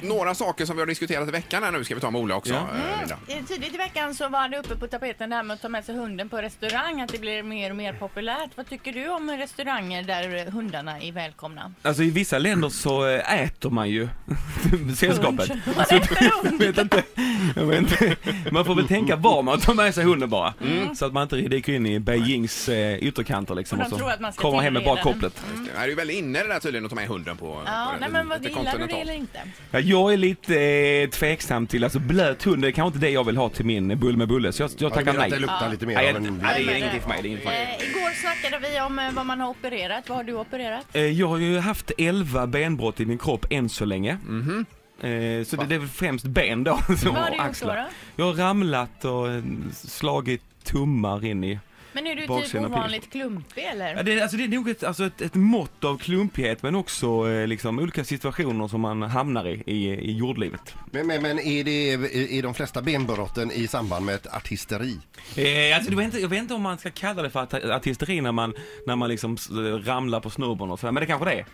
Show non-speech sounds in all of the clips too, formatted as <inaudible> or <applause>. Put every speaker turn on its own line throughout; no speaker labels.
Några saker som vi har diskuterat i veckan här nu ska vi ta med Ola också.
Ja.
eh, Linda.
Eh, Tidigt i veckan så var det uppe på tapeten det här med att ta med sig hunden på restaurang, att det blir mer och mer populärt. Vad tycker du om restauranger där hundarna är välkomna?
Alltså i vissa länder så eh, äter man ju <laughs> sällskapet.
Man
<laughs>
äter hund.
Jag vet inte, jag vet inte. Man får väl tänka var man tar med sig hunden bara. Så att man inte rycker in i Beijings eh, ytterkanter liksom.
Mm. Och
Och
de
så
tror att man ska
kommer hem med bara
tillreda den.
kopplet.
Det här är ju väldigt inne det där tydligen att ta med hunden på...
Mm. Ja,
på
nej, men vad
lite
gillar du det
kontinentalt.
eller inte?
Ja, jag är lite eh, tveksam till, alltså blöt hund, det är kanske inte det jag vill ha till min bull med bulle, så jag, jag
Ja, du
tackar
menar
nej.
att det luktar lite mer
Nej,
av
jag-
en
nej, det är
Nej, men-
ingenting för mig, det är ingenting för mig.
Eh, igår snackade vi om eh, vad man har opererat. Vad har du opererat?
Eh, Jag har ju haft 11 benbrott i min kropp än så länge. Eh, Så det, det är väl främst ben då, som
Vad har
har
du gjort då?
axlar.
då?
Jag har ramlat och eh, slagit tummar in i...
Men är du typ
Baksidan av
ovanligt klumpig eller?
Ja, det, är- alltså, det är nog ett, alltså, ett, ett mått av klumpighet men också eh, liksom, olika situationer som man hamnar i, i, i jordlivet.
Men, men, men är, det, är är de flesta benbrotten i samband med ett artisteri?
Eh, alltså, det var inte, jag vet inte om man ska kalla det för att, artisteri när man, när man liksom s- ramlar på snurren och sådär, men det kanske det är.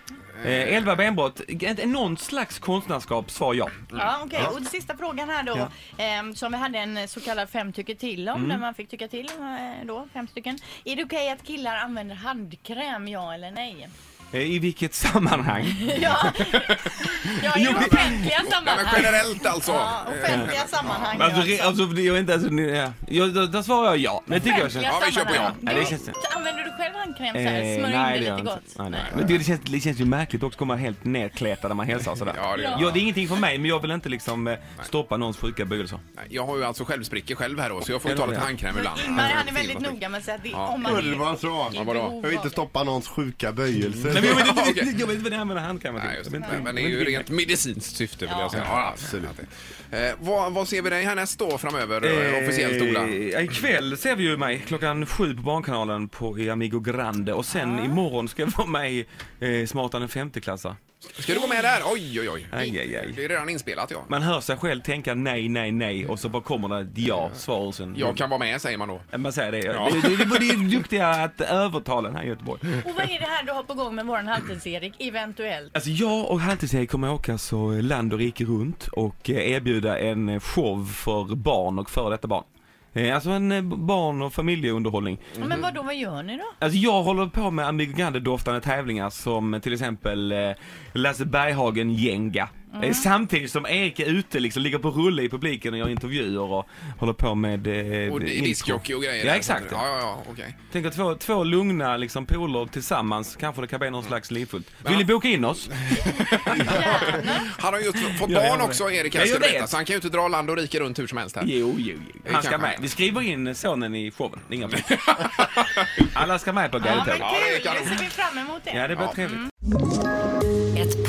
Eh, elva benbrott, Ett- någon slags konstnärskap, svar Mm. ja.
Ja, okej. Och sista frågan här då, ehm, som vi hade en så kallad fem tycker till
Mm.
om, där man fick tycka till eh, då, fem stycken. Är det okej att killar använder handkräm, ja eller nej?
Eh, I vilket <laughs> sammanhang?
Ja, ja i offentliga
Nej, men
sammanhang.
generellt alltså.
Ja, offentliga sammanhang. ja,
Alltså, re,
alltså.
alltså det- jag vet inte, alltså, ni- ja. jag, då, då svarar jag ja. Det tycker jag känns...
Offentliga
Ja, vi kör på
sammanhang.
ja. Ja, det känns-
Du- Använder du själv handkräm så här,
Eh,
smörjer in
det
det
gör
lite
jag
gott?
inte. Nej, nej. Men det, det, känns, det känns ju märkligt också att komma helt nedkletad när man hälsar och sådär.
Ja, det gör
Ja, det är ingenting för mig, men jag vill inte liksom eh, stoppa någons sjuka böjelser.
Nej, Jag har ju alltså självsprickor själv här då, så jag får ju ta lite handkräm ibland.
Ingmar han är väldigt noga med att säga att det, om man är
Underbart så!
i
vadå?
behov
Jag vill inte
av-
stoppa någons sjuka böjelse.
Nej, men jag vet inte,
Okej.
jag vet inte vad ni använder handkrämen
Nej,
till.
just
Jag
det.
vet
Men,
inte.
men det är ju rent medicinskt syfte vill jag säga.
Ja.
Ja, absolut. Eh, vad, vad ser vi dig härnäst då framöver eh, officiellt Ola?
Eh, ja, ikväll ser vi ju mig klockan sju på Barnkanalen på i Amigo Grande och sen imorgon ska jag vara med i eh, Smartare än 50-klassare.
Ska du vara med där? Oj, oj, oj.
Aj, aj, aj.
Det är redan inspelat ja.
Man hör sig själv tänka nej, nej, nej och så bara kommer det ett ja, svar ur sin...
Jag kan vara med säger man då.
Man säger det. Det, det, det, det är duktiga att övertala den här i Göteborg.
Och vad är det här du har på gång med våran halvtids-Erik, eventuellt?
Alltså jag och Halvtids-Erik kommer åka så land och rike runt och eh, erbjuda en show för barn och före detta barn. Eh, Alltså en eh, barn och familjeunderhållning.
Men vad då, vad gör ni då?
Alltså jag håller på med Amigo Grande-doftande tävlingar som till exempel eh, Lasse Berghagen Jenga.
Mm.
Eh, Samtidigt som Erik är ute liksom, ligger på rulle i publiken och gör intervjuer och håller på med... Eh,
Och det är
intro.
diskjockey och grejer.
Ja
där.
exakt.
Ja, ja, ja, okej.
Tänk att två, två lugna liksom poler tillsammans, kanske det kan
Mm.
bli någon slags livfullt. Vill ni boka in oss?
Han har ju just fått
Ja, jag
barn
vet.
också Erik
Ja,
här
jag
ska du veta.
vet.
Så han kan ju inte dra land och rike runt hur som helst här.
Jo, jo, jo. Han
kanske
ska med.
han.
Vi skriver in sonen i showen. Det är Inga problem. Alla ska med på
Ja, men
GT.
Ja, det är
kul!
kanon.
Då ser vi fram emot det.
Ja, det blir trevligt.
Ett